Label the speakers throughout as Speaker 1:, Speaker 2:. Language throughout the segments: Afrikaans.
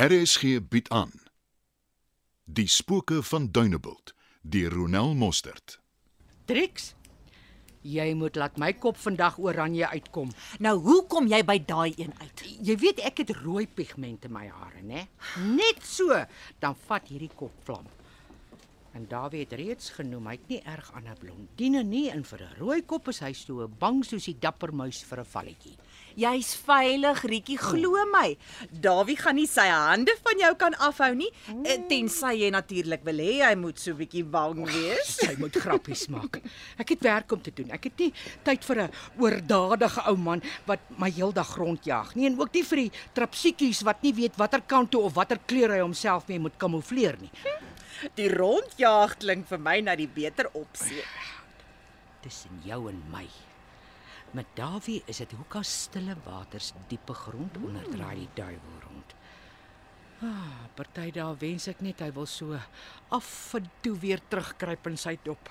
Speaker 1: RSG bied aan Die spooke van Dunebuld deur Ronel Mostert.
Speaker 2: Trix, jy moet laat my kop vandag oranje uitkom.
Speaker 3: Nou hoe kom jy by daai een uit?
Speaker 2: Jy weet ek het rooi pigment in my hare, né? Net so, dan vat hierdie kop vlam. En Dawie het reeds genoem, hy't nie erg aan 'n blondine nie en vir 'n rooi kop is hy so bang soos die dapper muis vir 'n valletjie.
Speaker 3: Jy's veilig, Rietjie, glo my. Dawie gaan nie sy hande van jou kan afhou nie, eh, tensy jy natuurlik wil hê hy moet so bietjie bang wees.
Speaker 2: Jy moet grappies maak. Ek het werk om te doen. Ek het nie tyd vir 'n oordadige ou man wat my heeldag rondjaag nie en ook nie vir die trapsiekies wat nie weet watter kant toe of watter kleur hy homself mee moet kamoufleer nie.
Speaker 3: Die rondjaag klink vir my na die beter opsie.
Speaker 2: tussen jou en my. Met Dawie is dit hoekom stille waters diepe grond onder draai die duiwel rond. Ah, party daar wens ek net hy wil so afgedoe weer terugkruip in sy dop.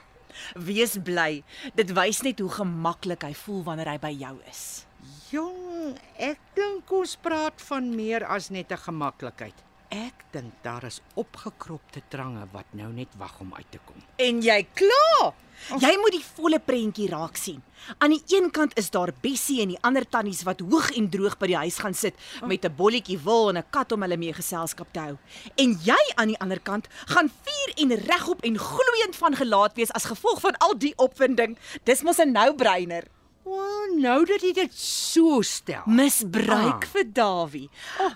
Speaker 3: Wees bly. Dit wys net hoe gemaklik hy voel wanneer hy by jou is.
Speaker 2: Jong, ek dink ons praat van meer as net 'n gemaklikheid. Ek dink daar is opgekropte trange wat nou net wag om uit te kom.
Speaker 3: En jy klaar. Jy moet die volle prentjie raak sien. Aan die een kant is daar Bessie en die ander tannies wat hoog en droog by die huis gaan sit met 'n bolletjie wol en 'n kat om hulle mee geselskap te hou. En jy aan die ander kant gaan vier en regop en gloeiend van gelaat wees as gevolg van al die opwinding. Dis mos 'n nou-breiner.
Speaker 2: Wel, nou dat jy dit so stel.
Speaker 3: Misbruik
Speaker 2: Ah.
Speaker 3: vir Dawie.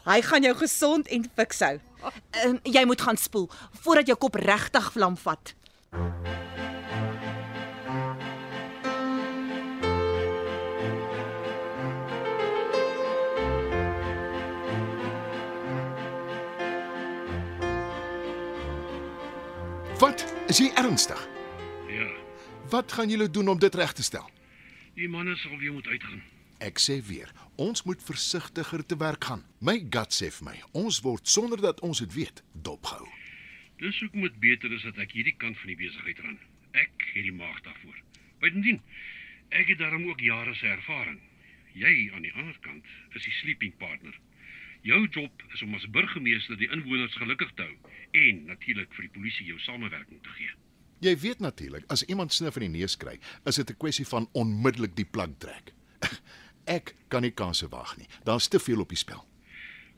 Speaker 3: Hy gaan jou gesond en fiks hou. Um, jy moet gaan spoel voordat jou kop regtig vlam vat.
Speaker 1: Wat? Is jy ernstig?
Speaker 4: Ja,
Speaker 1: Wat gaan julle doen om dit reg te stel?
Speaker 4: die manne sal weer moet uitgaan.
Speaker 1: Ek sê weer, ons moet versigtiger te werk gaan. My gut sê vir my, ons word sonder dat ons dit weet, dopgehou.
Speaker 4: Dis hoekom dit beter is dat ek hierdie kant van die besigheid ran. Ek het die maag daarvoor. Bytendien, ek het daarom ook jare se ervaring. Jy aan die ander kant is die sleeping partner. Jou job is om as burgemeester die inwoners gelukkig te hou en natuurlik vir die polisie jou samewerking te gee.
Speaker 1: Jy weet natuurlik, as iemand snif in die neus kry, is dit 'n kwessie van onmiddellik die plug trek. Ek kan nie kanse waag nie. Daar's te veel op die spel.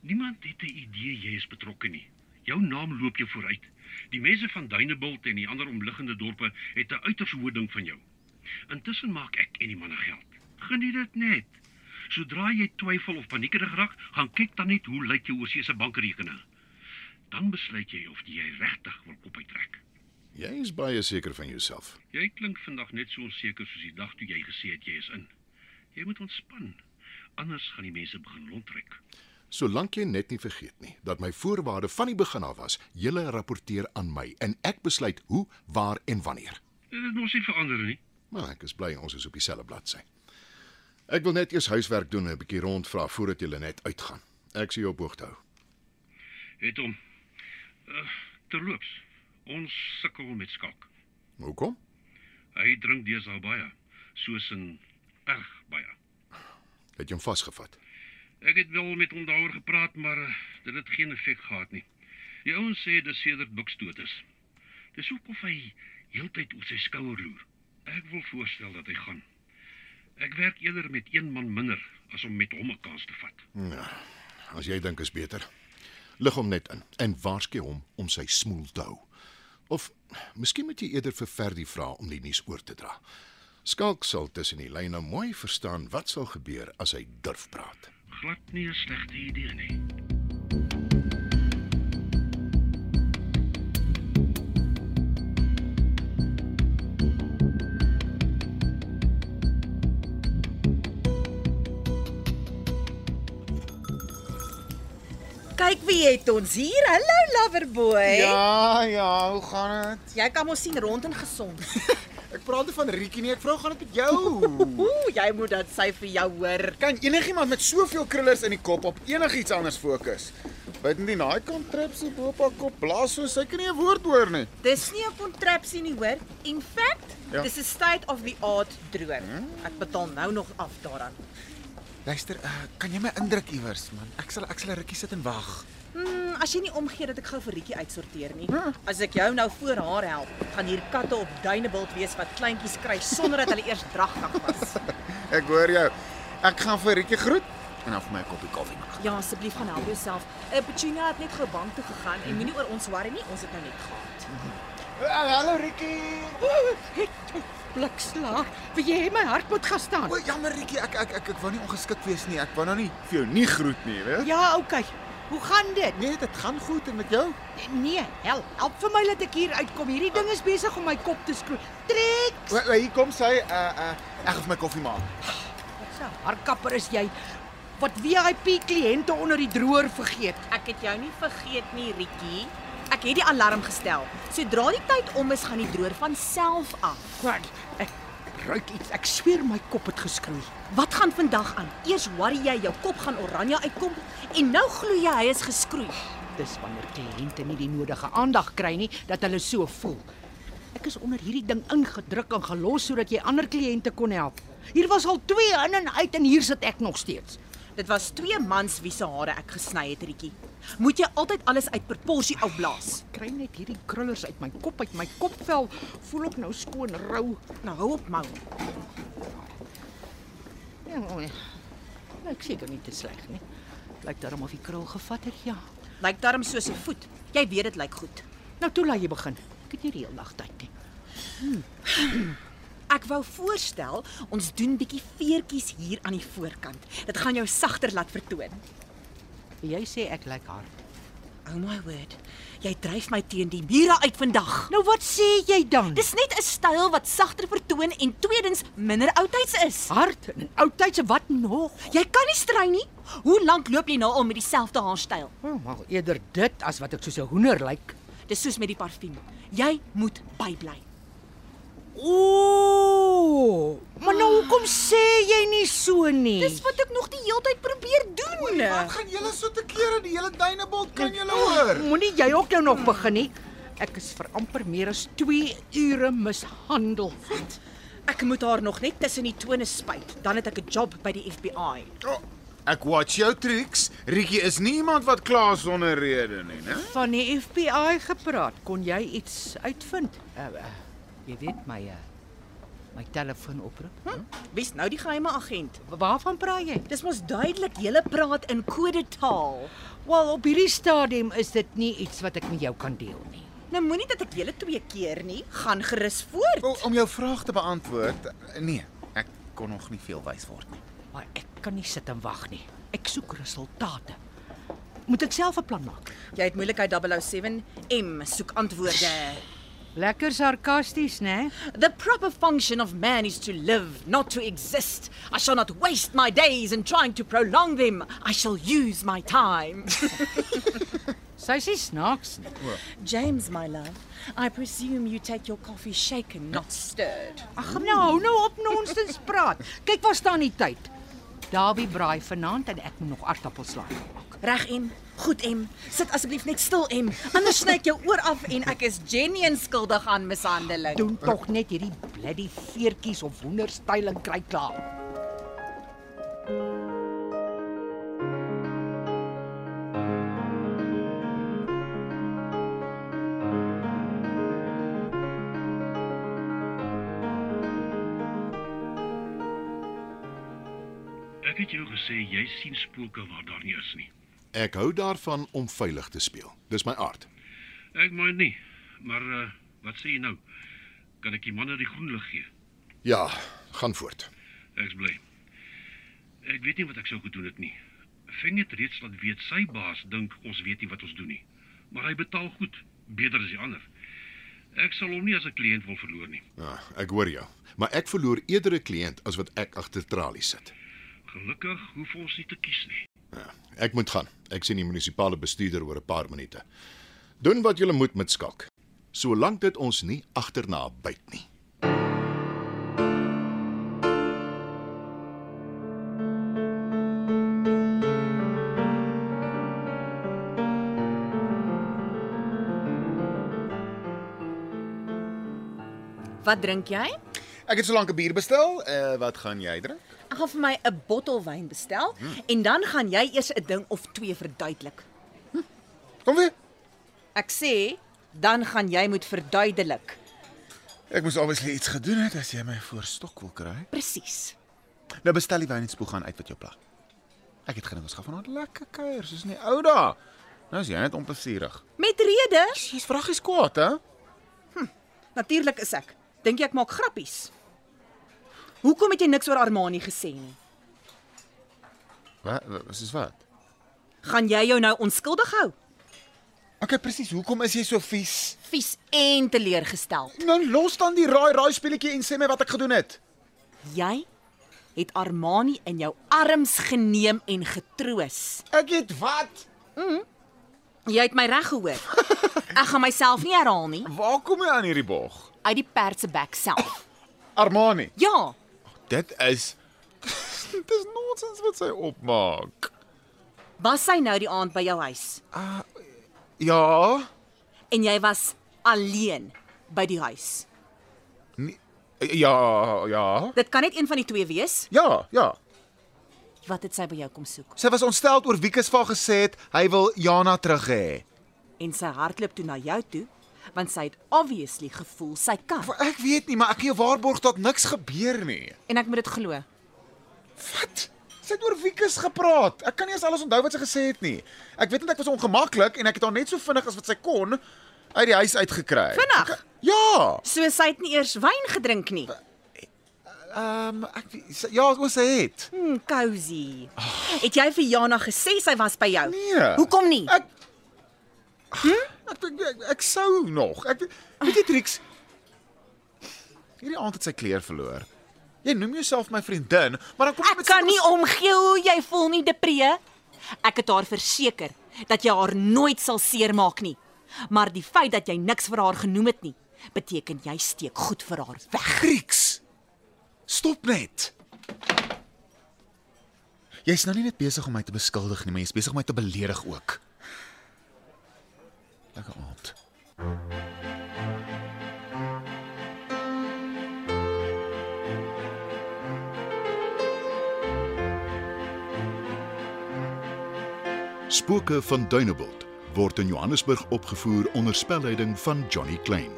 Speaker 4: Niemand het 'n idee jy is betrokke nie. Jou naam loop jou vooruit. Die mense van Dunebuld en die ander omliggende dorpe het 'n uiters hoë ding van jou. Intussen maak ek en die manne geld. Geniet dit net. Sodra jy twyfel of paniekerig raak, gaan kyk dan net hoe lyk jou oorsee se bankrekening. Dan besluit jy of jy regtig wil kop uittrek.
Speaker 1: Jy is baie seker van jouself.
Speaker 4: Jy klink vandag net so onseker soos die dag toe jy gesê het jy is in. Jy moet ontspan. Anders gaan die mense begin rondtrek.
Speaker 1: Solank jy net nie vergeet nie dat my voorwaarde van die begin af was, julle rapporteer aan my en ek besluit hoe, waar en wanneer.
Speaker 4: Dit het mos nie verander nie.
Speaker 1: Maar ek is bly ons is op dieselfde bladsy. Ek wil net eers huiswerk doen en 'n bietjie rondvra voordat julle net uitgaan. Ek sien jou op hoogte hou.
Speaker 4: het hom uh, terloops ons sukkel met skak.
Speaker 1: Hoekom?
Speaker 4: Hy drink deesdae baie, soos in erg baie.
Speaker 1: Het jy hom vasgevat?
Speaker 4: Ek het wel met hom daaroor gepraat, maar uh, dit het geen effek gehad nie. Die ouens sê dis sedert bukstoot is. Dis hoekom hy heeltyd op sy skouer loer. Ek wil voorstel dat hy gaan. Ek werk eerder met een man minder as om met hom 'n kans te vat.
Speaker 1: Ja, as jy dink is beter. Lig hom net in en waarsku hom om sy smoel te hou. Of miskien moet jy eerder vir Ferdi vra om die nuus oor te dra. Skalk sal tussen die lyne mooi verstaan wat sal gebeur as hy durf praat.
Speaker 4: Glad nie 'n slegte idee nie.
Speaker 3: Kyk wie het ons hier. Hallo loverboy.
Speaker 5: Ja, ja, hoe gaan dit?
Speaker 3: Jy kan mos sien rond en gesond.
Speaker 5: Ek praat nie van Rietjie nie, ek vra hoe gaan dit met jou?
Speaker 3: Ooh, jy moet dat sy vir jou hoor.
Speaker 5: kan enigiemand met soveel krullers in die kop op enigiets anders fokus? Buitendien daai kontrapsie bo op haar kop blaas so sy kan nie 'n woord hoor nie.
Speaker 3: Dis nie 'n kontrapsie nie hoor. In fact,
Speaker 5: Ja. Mm.
Speaker 3: dis 'n state of the art droom. Ek betaal nou nog af daaraan.
Speaker 5: eh, Luister, uh, kan jy my indruk iewers man? Ek sal ek sal 'n rukkie sit en wag.
Speaker 3: Mm, As jy nie omgee dat ek gou vir Rietjie uitsorteer nie.
Speaker 5: Mm.
Speaker 3: As ek jou nou voor haar help, gaan hier katte op duinebult wees wat kleintjies kry sonder dat hulle eers dragtig was.
Speaker 5: Ek hoor jou. Ek gaan vir Rietjie groet en dan vir my 'n koppie koffie maak.
Speaker 3: Ja, asseblief gaan help jouself. Eh, Petunia het net gou bank toe gegaan
Speaker 5: Mm.
Speaker 3: en moenie oor ons worry nie, ons het nou net gehad.
Speaker 5: Eh, Hallo Rietjie.
Speaker 2: Blikslaag, wil jy hê my hart moet gaan staan?
Speaker 5: O, jammer Rietjie, ek ek ek ek wou nie ongeskik wees nie. Ek wou nou nie vir jou nie groet nie, weet?
Speaker 2: Ja, okay. Hoe gaan dit?
Speaker 5: Nee, dit gaan goed en met jou?
Speaker 2: Nee, help. Help vir my dat ek hier uitkom. Hierdie ding is besig om my kop te skroei. Trek.
Speaker 5: O, o, eh, hier kom sy. Uh uh ek gaan vir my koffie maak.
Speaker 2: Wat 'n harkapper is jy wat VIP kliënte onder die droër vergeet.
Speaker 3: Ek het jou nie vergeet nie, Rietjie. Ek het die alarm gestel. Sodra die tyd om is, gaan die droër van self af.
Speaker 2: Wat? Ek ruik iets. Ek sweer my kop het geskroei.
Speaker 3: Wat gaan vandag aan? Eers worry jy jou kop gaan oranje uitkom en nou glo jy hy is geskroei.
Speaker 2: Dis wanneer kliënte nie die nodige aandag kry nie dat hulle so voel. Ek is onder hierdie ding ingedruk en gelos sodat jy ander kliënte kon help. Hier was al 2 in en uit en hier sit ek nog steeds.
Speaker 3: Dit was twee mans wie se hare ek gesny het, Rietjie. Moet jy altyd alles uit proporsie afblaas.
Speaker 2: Kry net hierdie krullers uit my kop, uit my kopvel. Voel ek nou skoon rou.
Speaker 3: Nou hou op, man.
Speaker 2: Ja, o, ja. Nou, Ek seker nie te sleg nie. Lyk daarom of die krul gevat het, ja.
Speaker 3: Lyk darm soos 'n voet. Jy weet dit lyk goed.
Speaker 2: Nou toe laat jy begin. Ek het nie die hele dag tyd nie.
Speaker 3: Ek wou voorstel ons doen bietjie veertjies hier aan die voorkant. Dit gaan jou sagter laat vertoon.
Speaker 2: Jy sê ek lyk hard.
Speaker 3: Oh my word. Jy dryf my teen die mure uit vandag.
Speaker 2: Nou wat sê jy dan? Dis
Speaker 3: Dis net 'n styl wat sagter vertoon en tweedens minder oudtyds is.
Speaker 2: hard en oudtydse wat nog?
Speaker 3: Jy kan nie strei nie. Hoe lank loop jy nou al met dieselfde haarstyl?
Speaker 2: Oh, maar eerder dit as wat ek soos 'n hoender lyk.
Speaker 3: Dis soos met die parfuum. Jy moet bybly.
Speaker 2: Ooh! Maar nou hoekom sê jy nie so nie?
Speaker 3: Dis wat ek nog die heeltyd probeer doen.
Speaker 5: Wat gaan julle so te kere die hele duinebult kan julle hoor?
Speaker 2: Moenie jy ook nou nog begin nie. Ek is vir amper meer as 2 ure mishandel. Wat?
Speaker 3: Ek moet haar nog net tussen die tone spyt, dan het ek 'n job by die FBI.
Speaker 5: Oh, ek watch jou tricks. Rietjie is nie iemand wat kla sonder rede nie, né?
Speaker 2: Van die FBI gepraat, kon jy iets uitvind? Uh, uh, jy weet my uh, my telefoon oproep. Hm?
Speaker 3: Wie's nou die geheime agent?
Speaker 2: Waarvan praat jy?
Speaker 3: Dis mos duidelik jy praat in kodetaal.
Speaker 2: Wel, op hierdie stadium is dit nie iets wat ek met jou kan deel nie.
Speaker 3: Nou moenie dat ek julle twee keer nie. Gaan gerus voort.
Speaker 5: O, om jou vraag te beantwoord, nee, ek kon nog nie veel wys word nie.
Speaker 2: Maar ek kan nie sit en wag nie. Ek soek resultate. Moet ek self 'n plan maak?
Speaker 3: Jy het moeilikheid 007 M soek antwoorde.
Speaker 2: Lekker sarkasties, né?
Speaker 3: The proper function of man is to live, not to exist. I shall not waste my days in trying to prolong them. I shall use my time.
Speaker 2: Sy's nie snaaks nie.
Speaker 3: James, my love, I presume you take your coffee shaken, not stirred.
Speaker 2: Ag, nou hou nou op nonsens praat. Kyk waar staan die tyd. Dawie braai vanaand en ek moet nog aartappelslaai maak.
Speaker 3: Reg en goed em. Sit asseblief net stil em. Anders sny ek jou oor af en ek is genuen skuldig aan mishandeling.
Speaker 2: Doen tog net hierdie bloody veertjies of hoenderstyl en kry klaar.
Speaker 4: Ek het jou gesê jy sien spooke waar daar nie is nie.
Speaker 1: Ek hou daarvan om veilig te speel. Dis my aard.
Speaker 4: Ek meen nie, maar uh, wat sê jy nou? Kan ek die manne die groen lig gee?
Speaker 1: Ja, gaan voort.
Speaker 4: Ek's bly. Ek weet nie wat ek sou gedoen het nie. Feng het reeds laat weet sy baas dink ons weet nie wat ons doen nie. Maar hy betaal goed, beter as die ander. Ek sal hom nie as 'n kliënt wil verloor nie.
Speaker 1: Ja, ek hoor jou, maar ek verloor eerder 'n kliënt as wat ek agter tralies sit.
Speaker 4: Gelukkig hoef ons nie te kies nie.
Speaker 1: Ja, ek moet gaan. Ek sien die munisipale bestuurder oor 'n paar minute. Doen wat jy moet met skalk. Solank dit ons nie agterna byt nie.
Speaker 3: Wat drink jy?
Speaker 5: Ek het solank 'n bier bestel. Uh wat gaan jy drink?
Speaker 3: Ek gaan vir my 'n Hmm. bottel wyn bestel en dan gaan jy eers 'n ding of twee verduidelik.
Speaker 5: Kom weer.
Speaker 3: Ek sê, dan gaan jy moet verduidelik.
Speaker 5: Ek moes obviously iets gedoen het as jy my voorstok wil kry.
Speaker 3: Presies.
Speaker 5: Nou bestel die wyn en spoeg gaan uit wat jou pla. Ek het gedink ons gaan vanaand lekker kuier soos in die ou dae. Nou is jy net onplesierig.
Speaker 3: Met rede.
Speaker 5: Jy's vraggies kwaad, hè?
Speaker 3: Natuurlik is ek. Dink jy ek maak grappies? Hoekom het jy niks oor Armani gesê nie?
Speaker 5: Wat wa- soos wat?
Speaker 3: Gaan jy jou nou onskuldig hou?
Speaker 5: Okay, presies. Hoekom is jy so vies?
Speaker 3: Vies en teleurgestel.
Speaker 5: Nou los dan die raai raai speletjie en sê my wat ek gedoen het.
Speaker 3: Jy het Armani in jou arms geneem en getroos.
Speaker 5: Ek het wat?
Speaker 3: Jy het my reg gehoor. Ek gaan myself nie herhaal nie
Speaker 5: Waar kom jy aan hierdie bog?
Speaker 3: uit die perd se bek self.
Speaker 5: Armani.
Speaker 3: Ja,
Speaker 5: Dit is Dis nonsens wat sy opmaak.
Speaker 3: was sy nou die aand by jou huis
Speaker 5: Ja.
Speaker 3: en jy was alleen by die huis.
Speaker 5: Nee, ja, ja.
Speaker 3: Dit kan net een van die twee wees.
Speaker 5: Ja, ja.
Speaker 3: Wat het sy by jou kom soek?
Speaker 5: Sy was ontstel oor wie Kusva gesê het hy wil Jana terug hê.
Speaker 3: En sy hardloop toe na jou toe want sy het obviously gevoel sy kan
Speaker 5: Ek weet nie, maar ek gee waarborg dat niks gebeur nie.
Speaker 3: en ek moet dit glo.
Speaker 5: Wat? Sy het oor Wiekus gepraat. Ek kan nie eens alles onthou wat sy gesê het nie. Ek weet net ek was ongemaklik en ek het haar net so vinnig as wat sy kon uit die huis uitgekry.
Speaker 3: Vinnig?
Speaker 5: Ek- Ja.
Speaker 3: So sy het nie eers wyn gedrink nie.
Speaker 5: Ehm um, ek weet- sy- ja, wat sy het.
Speaker 3: Hmm, cozy. Het jy vir Jana gesê sy was by jou?
Speaker 5: Ah. Nee.
Speaker 3: Hoekom nie?
Speaker 5: Ek Hm? Ek ek, ek, ek sou nog. Ek weet jy Trix. Hierdie aand het sy kleur verloor. Jy noem jouself my vriendin, maar dan kom jy
Speaker 3: Ek
Speaker 5: met
Speaker 3: kan
Speaker 5: sulke
Speaker 3: nie omgee hoe jy voel nie, Depree. Ek het haar verseker dat jy haar nooit sal seermaak nie. Maar die feit dat jy niks vir haar genoem het nie, beteken jy steek goed vir haar weg.
Speaker 5: Grieks. Stop net. Jy's nou nie net besig om my te beskuldig nie, maar jy's besig om my te beledig ook. Lekker aand.
Speaker 1: Spooke van Dunebuld word in Johannesburg opgevoer onder spelleiding van Johnny Klein.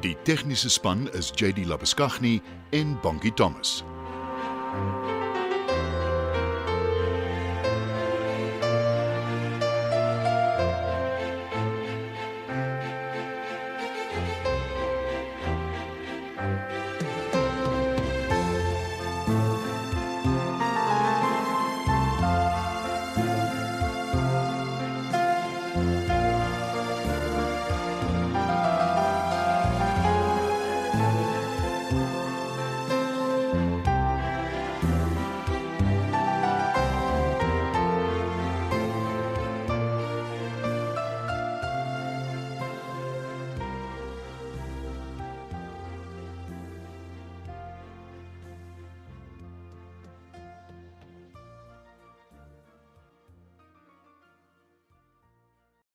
Speaker 1: Die tegniese span is JD Labuskaghni en Bongie Thomas.